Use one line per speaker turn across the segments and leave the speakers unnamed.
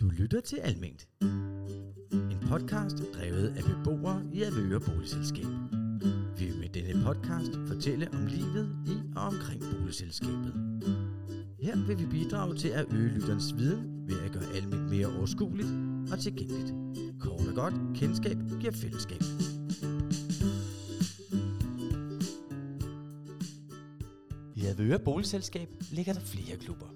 Du lytter til Almingt. En podcast drevet af beboere i Avøre Boligselskab. Vi vil med denne podcast fortælle om livet i og omkring boligselskabet. Her vil vi bidrage til at øge lytterens viden ved at gøre almindt mere overskueligt og tilgængeligt. Kort og godt, kendskab giver fællesskab. I Avøre Boligselskab ligger der flere klubber.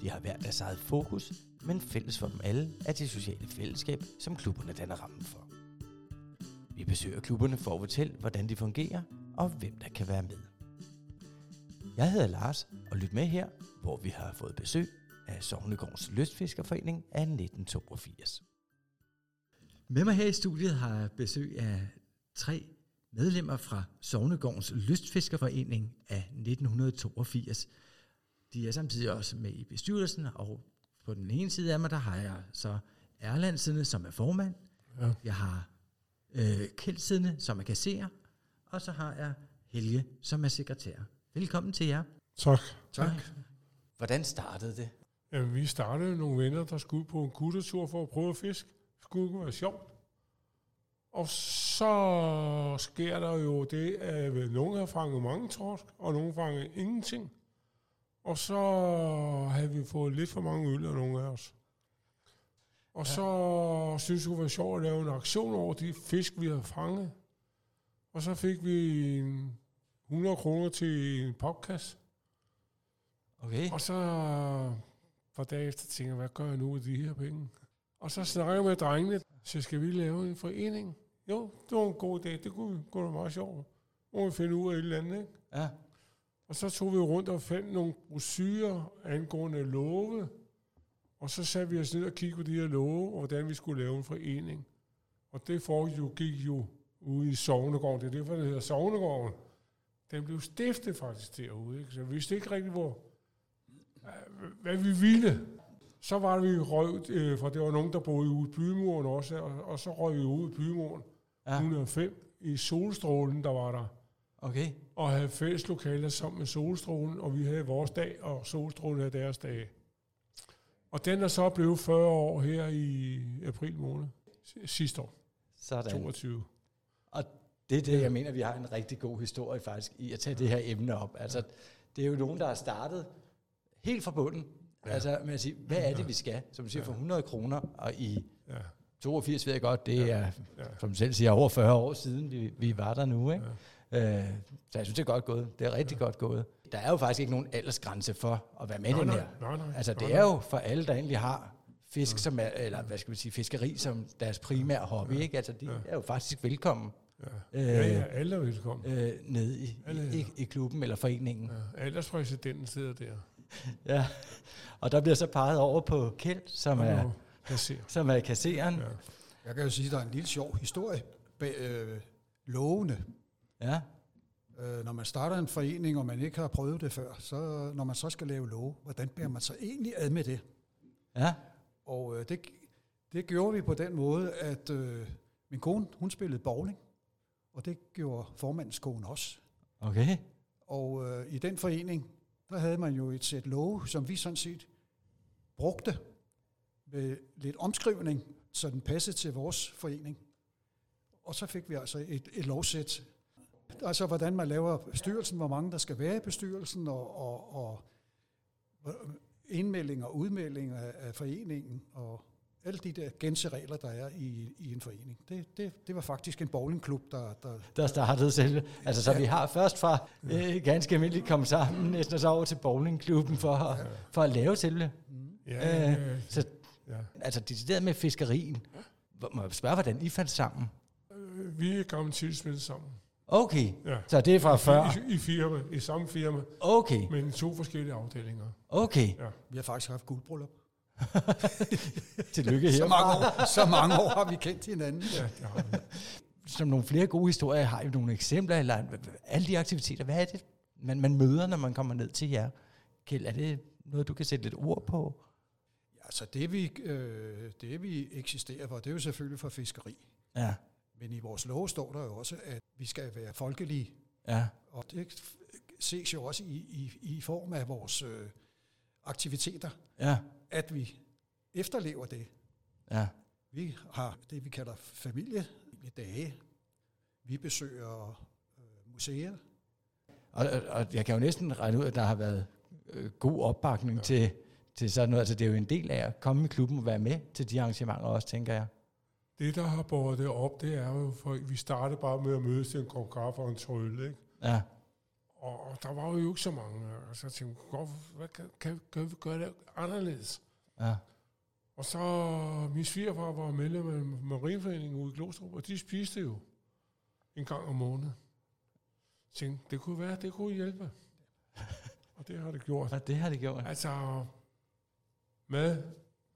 De har hver deres eget fokus, men fælles for dem alle er det sociale fællesskab, som klubberne danner rammen for. Vi besøger klubberne for at fortælle, hvordan de fungerer og hvem der kan være med. Jeg hedder Lars, og lyt med her, hvor vi har fået besøg af Sognegårds Lystfiskerforening af 1982.
Med mig her i studiet har jeg besøg af tre medlemmer fra Sognegårdens Lystfiskerforening af 1982. De er samtidig også med i bestyrelsen, og på den ene side af mig, der har jeg så Erland siddende, som er formand. Ja. Jeg har øh, Kjeld siddende, som er kasserer. Og så har jeg Helge, som er sekretær. Velkommen til jer.
Tak.
Tak.
Hvordan startede det?
Jamen, vi startede nogle venner, der skulle på en kuttertur for at prøve at fisk. Det skulle ikke være sjovt. Og så sker der jo det, at nogle har fanget mange torsk, og nogle fanget ingenting. Og så havde vi fået lidt for mange øl af nogle af os. Og ja. så synes det kunne være sjovt at lave en aktion over de fisk, vi havde fanget. Og så fik vi en 100 kroner til en podcast.
Okay.
Og så for dage efter tænker jeg, hvad gør jeg nu med de her penge? Og så snakker jeg med drengene, så skal vi lave en forening. Jo, det var en god dag, det kunne gå da meget sjovt. Må vi finde ud af et eller andet, ikke?
Ja.
Og så tog vi rundt og fandt nogle brosyrer angående love, og så satte vi os ned og kiggede på de her love, og hvordan vi skulle lave en forening. Og det foregik jo, gik jo ude i Sognegården, det er derfor, det hedder Sognegården. Den blev stiftet faktisk derude, ikke? så vi vidste ikke rigtig, hvor, hvad vi ville. Så var vi røvet, øh, for det var nogen, der boede ude i bymuren også, og, og så røg vi ud i bymuren
Ja.
ja. 105 i solstrålen, der var der,
Okay.
og havde fælles lokaler sammen med solstrålen, og vi havde vores dag, og solstrålen havde deres dag. Og den er så blevet 40 år her i april måned, si- sidste år,
Sådan.
22.
Og det er det, jeg mener, vi har en rigtig god historie faktisk i at tage det her emne op. Altså, det er jo nogen, der har startet helt fra bunden. Ja. Altså, man siger, hvad er det, vi skal? Som du siger, for 100 kroner, og i
Ja.
82 ved jeg godt, det ja. er,
Ja.
som du selv siger, over 40 år siden, vi, vi var der nu. Ikke? Ja. Øh, så jeg synes, det er godt gået. Det er rigtig ja. godt gået. Der er jo faktisk ikke nogen aldersgrænse for at være med i
Nej,
den
nej,
her.
nej, nej,
altså, det
nej,
er jo for alle, der egentlig har fisk, ja. som er, eller hvad skal vi sige, fiskeri som deres primære hobby. Ja. Ikke? Altså, de ja. er jo faktisk velkommen
Ja. Ja, ja, alle er velkommen.
øh, nede i,
Alle-
i, i klubben eller foreningen.
Ja. Alderspræsidenten sidder der.
Ja. ja. Og der bliver så peget over på Kjeld, som, er,
Og jeg ser.
som er kasseren. Ja.
Jeg kan jo sige, at der er en lille sjov historie bag øh, lovene.
ja.
Øh, når man starter en forening, og man ikke har prøvet det før, så når man så skal lave love, hvordan bærer man sig egentlig ad med det?
ja.
Og øh, det, det gjorde vi på den måde, at øh, min kone, hun spillede bowling, og det gjorde formandens kone også.
Okay.
Og øh, i den forening, der havde man jo et sæt love, som vi sådan set brugte med lidt omskrivning, så den passede til vores forening. Og så fik vi altså et, et lovsæt. Altså hvordan man laver bestyrelsen, hvor mange der skal være i bestyrelsen, og, og, og øh, indmelding og udmelding af, af foreningen, og alle de der gængse regler, der er i, i en forening. Det, det, det var faktisk en bowlingklub, der, der,
Der startede selve. Altså, så vi har først fra øh, ganske almindeligt komme sammen, næsten og så over til bowlingklubben for, at- for at lave selve.
Ja, ja,
Øh, så,
ja.
altså, decideret med fiskerien. Hvor- Må jeg spørge, hvordan I fandt sammen?
Øh, Vi er gamle tilsmænd sammen.
Okay,
Ja.
så det er fra før.
I, I, firma, i samme firma,
Okay,
men i to forskellige afdelinger.
okay.
vi har faktisk haft guldbryllup.
Tillykke
Så
her.
mange, år, så mange år har vi kendt hinanden.
Ja, det har vi.
Som nogle flere gode historier, har I nogle eksempler, eller h- h- alle de aktiviteter, hvad er det, man, man møder, når man kommer ned til jer? Kjeld, er det noget, du kan sætte lidt ord på?
Altså det vi, øh, det vi eksisterer for, det er jo selvfølgelig for fiskeri.
Ja,
Men i vores lov står der jo også, at vi skal være folkelige.
ja,
Og det f- ses jo også i, i, i form af vores øh, aktiviteter,
ja.
at vi efterlever det.
Ja.
Vi har det, vi kalder familiedage. Vi besøger øh, museer.
Og, og, og jeg kan jo næsten regne ud, at der har været øh, god opbakning ja. til, til sådan noget. Altså, det er jo en del af at komme i klubben og være med til de arrangementer også, tænker jeg.
Det, der har båret det op, det er jo, for vi startede bare med at mødes til en kop kaffe og en tøjle, ikke?
Ja,
Og, og der var jo ikke så mange. Og så tænkte jeg, "Hvor- hvad kan, kan, kan vi gøre det anderledes?
ja.
Og så min svigerfar var medlem af Marineforeningen ude i Glostrup, og de spiste jo en gang om måneden. Jeg tænkte, det kunne være, det kunne hjælpe. og det har det gjort.
Og det har det gjort.
Altså, mad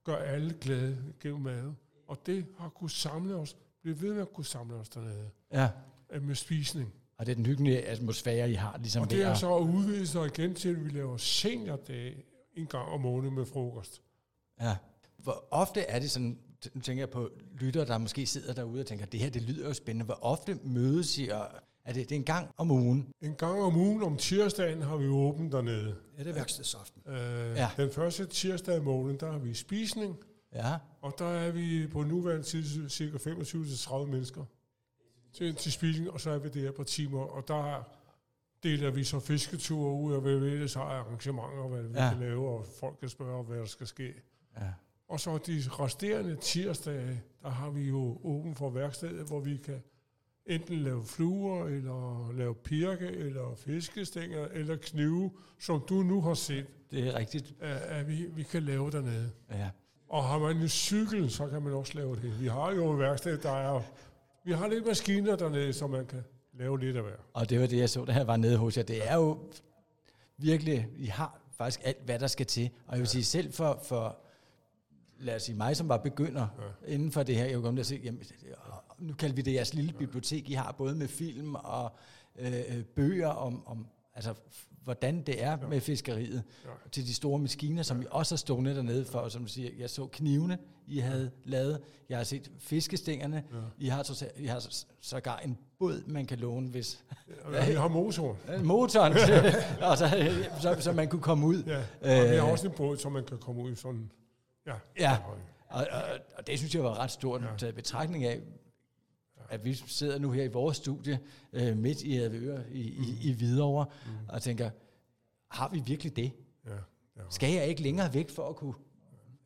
gør alle glade gennem mad. Og det har kunne samle os, blive ved med at kunne samle os dernede
Ja.
øh, med spisning.
Og det er den hyggelige atmosfære, I har ligesom
Og det
der.
er så udvidet sig igen til, at vi laver seniordage en gang om måneden med frokost.
Ja. Hvor ofte er det sådan, t- nu tænker jeg på lyttere, der måske sidder derude og tænker, det her, det lyder jo spændende. Hvor ofte mødes I, og er det, det er en gang om ugen?
En gang om ugen om tirsdagen har vi åbent dernede.
Ja, det er værkstedsaften.
Øh,
Ja.
ja. Den første tirsdag i måneden, der har vi spisning,
Ja.
og der er vi på nuværende tid cirka 25-30 mennesker til, til spisning, og så er vi der på timer, og der deler vi så fisketure ud, og hvad vi ellers har af arrangementer, hvad vi
Ja.
ja. kan lave, og folk kan spørge, hvad der skal ske.
Ja.
Og så de resterende tirsdage, der har vi jo åben for værkstedet, hvor vi kan enten lave fluer, eller lave pirke, eller fiskestænger, eller knive, som du nu har set,
Det er rigtigt.
at at vi, vi kan lave dernede.
Ja.
Og har man en cykel, så kan man også lave det. Vi har jo et værksted, der er... Vi har lidt maskiner dernede, så man kan lave lidt af hver.
Og det var det, jeg så, da jeg var nede hos jer. Det er jo virkelig, I har faktisk alt, hvad der skal til. Og jeg vil sige, selv for, for lad os sige, mig som var begynder ja. inden for det her, jeg kunne komme til at se, jamen, åh, nu kalder vi det jeres lille bibliotek, I har både med film og øh, bøger om, om altså, f- hvordan det er med fiskeriet, ja. til de store maskiner, som I også har stående dernede for, og som du siger, jeg så knivene, I havde lavet, jeg har set fiskestængerne, ja. I har, så, I har så- sågar en båd, man kan låne, hvis
Og Vi har motoren.
motoren, og så, så, så man kunne komme ud.
Ja. Og vi har også en båd, så man kan komme ud i sådan... Ja.
Øh. Ja, og, og, og det synes jeg var ret stort, ja. taget i betragtning af, at vi sidder nu her i vores studie, øh, midt i Advøre, i, i, i Hvidovre, mm. og tænker, har vi virkelig det?
ja. ja.
Skal jeg ikke længere væk for at kunne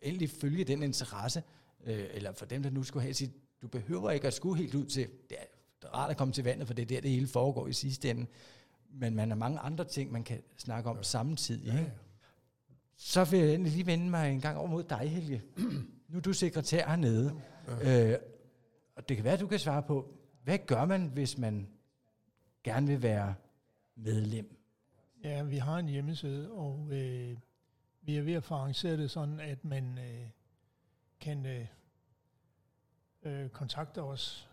endelig følge den interesse? Øh, eller for dem, der nu skulle have sit, du behøver ikke at skulle helt ud til, det er rart at komme til vandet, for det er der, det hele foregår i sidste ende. Men man har mange andre ting, man kan snakke om ja. samtidig. Ja, ja. Så vil jeg endelig lige vende mig en gang over mod dig, Helge. nu er du sekretær hernede. Ja. Øh, og det kan være, at du kan svare på, hvad gør man, hvis man gerne vil være medlem?
Ja, vi har en hjemmeside, og øh, vi er ved at få arrangeret det sådan, at man øh, kan øh, øh, kontakte os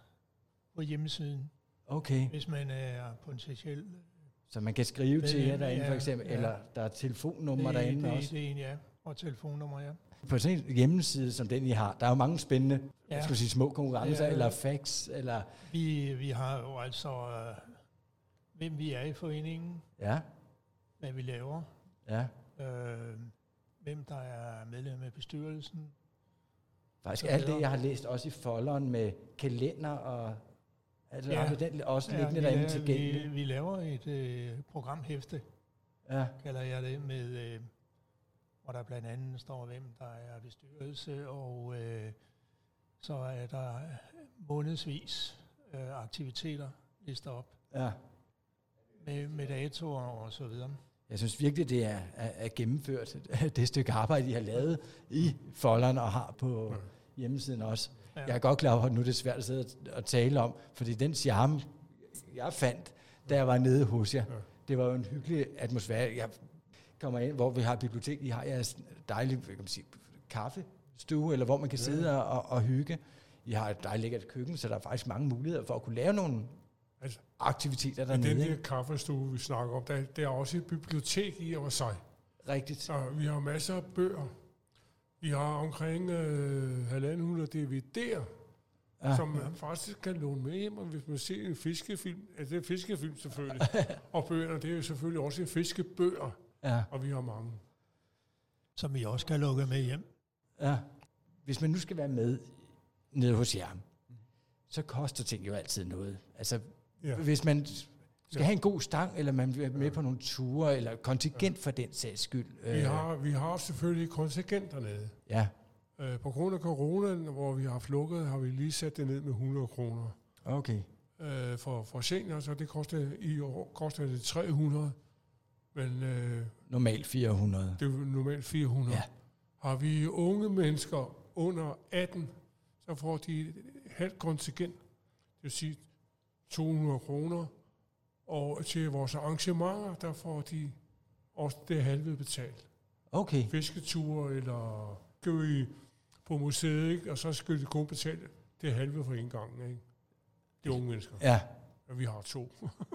på hjemmesiden,
Okay.
hvis man er potentielt.
Så man kan skrive
Det-
til jer derinde, for
ja,
eksempel,
ja.
eller der er telefonnummer
øh, det,
derinde
det,
også.
Det er en, ja, og telefonnummer, ja.
På sådan en hjemmeside som den, I har, der er jo mange spændende, ja.
Ja.
jeg skulle sige, små konkurrencer, ja,
Ja,
ja.
ja.
eller facts, eller...
Vi, vi har jo altså, øh, hvem vi er i foreningen,
Ja,
hvad vi laver,
ja.
øh, hvem der er medlem af bestyrelsen,
Faktisk
Så
alt det,
videre.
jeg har læst også i folderen med kalender og... Altså,
Ja.
ja. har du den også liggende
vi,
derinde
la-
tilgængelig?
Vi, vi laver et øh, programhæfte,
Ja,
kalder jeg det, med, øh, hvor der blandt andet står, hvem der er bestyrelse, og øh, så er der månedsvis øh, aktiviteter listet op
ja.
med, med datoer og så videre.
Jeg synes virkelig, det er, er, er gennemført, det stykke arbejde, I har lavet i folderen og har på ja. hjemmesiden også. Ja.
Ja.
Jeg er godt klar over, at nu er det svært at sidde og tale om, fordi den charme, jeg fandt, da jeg var nede hos jer, ja. det var jo en hyggelig atmosfære. Jeg kommer ind, hvor vi har bibliotek, I har jeres dejlige hvad kan man sige, kaffestue, eller hvor man kan sidde og, og hygge. I har et dejligt lækkert køkken, så der er faktisk mange muligheder for at kunne lave nogle
Altså,
aktiviteter
Men
dernede.
den der
ikke?
kaffestue, vi snakker om, der, der er også et bibliotek i og for sig.
Rigtigt.
Så vi har masser af bøger. Vi har omkring øh, 1.500 DVD'er,
Ja.
ja. som man faktisk kan låne med hjem, og hvis man ser en fiskefilm, altså det er fiskefilm selvfølgelig, og bøgerne, det er jo selvfølgelig også fiskebøger,
Ja,
og vi har mange.
Som vi også kan lukke med hjem.
ja. hvis man nu skal være med nede hos jer, så koster ting jo altid noget. Altså,
Ja.
ja. hvis man skal
Ja.
have en god stang, eller man vil være med på nogle ture, eller kontingent for den sags skyld. øh,
Vi har, vi har selvfølgelig kontingent dernede.
Ja,
Øh, På grund af coronaen, hvor vi har haft lukket, har vi lige sat det ned med 100 kroner
okay.
øh, for, for senior, så det koster i år koster det 300, men øh,
Normalt 400.
det er jo normalt 400.
Ja.
Har vi unge mennesker under 18, så får de et halvt kontingent, det vil sige 200 kroner, og til vores arrangementer, der får de også det halve betalt.
Okay,
fisketure, eller skal vi på museet, ikke? og så skal de kun betale det halve for en gang. Ikke? De unge mennesker.
ja.
Og vi har to.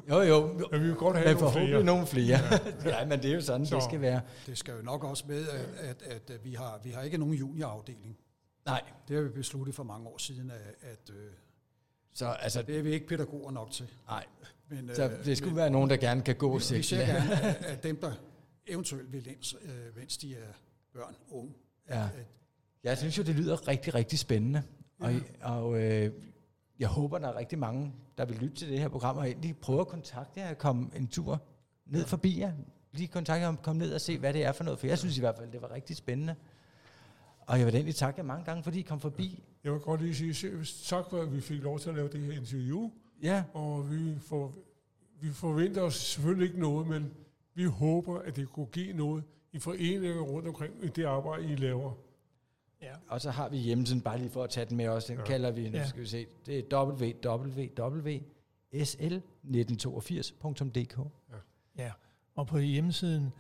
Jo, jo.
Men vi vil godt have
Men
nogle
forhåbentlig
flere.
nogle flere. Ja, men det er jo sådan,
Så.
det skal være.
Det skal jo nok også med, at, at, at øh, vi, har, vi har ikke nogen juniorafdeling.
Nej,
Det har vi besluttet for mange år siden, at, at øh,
så altså,
det er vi ikke pædagoger nok til.
nej.
Men,
Så
øh,
det skulle være nogen, der gerne kan gå
Vi
selv.
ser
Ja.
gerne, at- at dem, der eventuelt vil ind, øh, mens de er børn, unge,
Ja.
at
Jeg synes jo, det lyder rigtig, rigtig spændende. Og, og øh, jeg håber, der er rigtig mange, der vil lytte til det her program, og egentlig prøve at kontakte jer og komme en tur ned forbi jer. Lige kontakte jer og komme ned og se, hvad det er for noget. For jeg synes i hvert fald, det var rigtig spændende. Og jeg vil da egentlig takke jer mange gange, fordi I kom forbi.
Jeg vil godt lige sige se, tak for, at vi fik lov til at lave det her interview,
Ja,
og vi, for, vi forventer os selvfølgelig ikke noget, men vi håber, at det kunne give noget i foreninger rundt omkring i det arbejde, I laver.
Ja.
og så har vi hjemmesiden, bare lige for at tage den med os. Den ja. kalder vi, nu
Ja.
skal vi se, det er www.sl1982.dk.
Ja, og på hjemmesiden,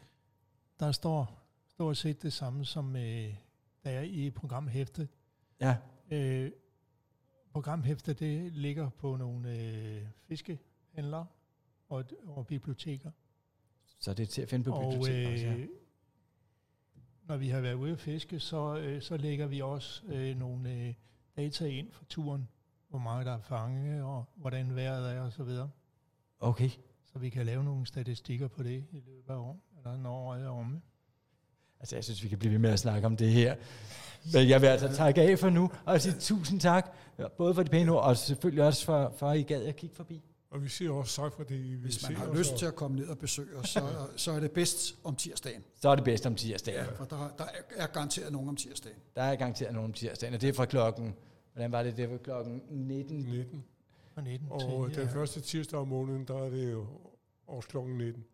der står stort set det samme, som øh, der er i programhæftet.
Ja,
Øh, programhæftet, det ligger på nogle øh, fiskehandlere og, og biblioteker.
så det er til at finde på
og
biblioteket også, ja.
øh, når vi har været ude at fiske, så, øh, så lægger vi også øh, nogle øh, data ind for turen. Hvor mange der er fanget, og hvordan vejret er osv. videre.
Okay.
så vi kan lave nogle statistikker på det i løbet af år, eller når året er omme.
Altså, jeg synes, vi kan blive ved med at snakke om det her. Men jeg vil altså takke af for nu, og sige tusind tak, både for de pæne ord, og selvfølgelig også for, for at I gad at kigge forbi.
Og vi siger også tak for det, I vil
hvis man
se
har
os,
lyst
og-
til at komme ned og besøge os, så, så er det bedst om tirsdagen.
Så er det bedst om tirsdagen.
For der, der er- er garanteret nogen om tirsdagen.
Der er garanteret nogen om tirsdagen, og det er fra klokken, hvordan var det, det var klokken 19.
19.
Fra 19
Og
til, øh,
den
ja.
første tirsdag om måneden, der er det jo også kl. 19.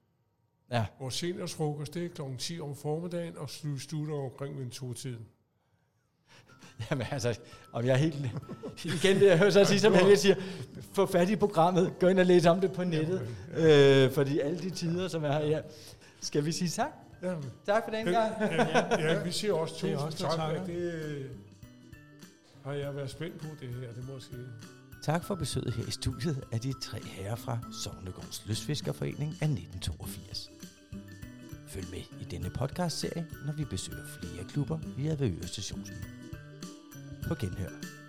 Ja,
Vores seniorsfrokost, det er kl. 10 om formiddagen, og slu- slutter omkring ved to tiden.
jamen altså, om jeg er helt... Igen det, jeg hører så sige, som Helge siger, få fat i programmet, gå ind og læs om det på nettet, øh, fordi alle de tider, som er her, ja. Skal vi sige tak?
Ja,
Tak for den gang.
ja, vi siger også
Det er
tusind
os, der
tak,
takker.
at det øh, har jeg været spændt på det her, det må jeg sige.
Tak for besøget her i studiet af de tre herrer fra Sognegårds Løsfiskerforening af 1982. Følg med i denne podcastserie, når vi besøger flere klubber i Avedøre Stationsby. På genhør.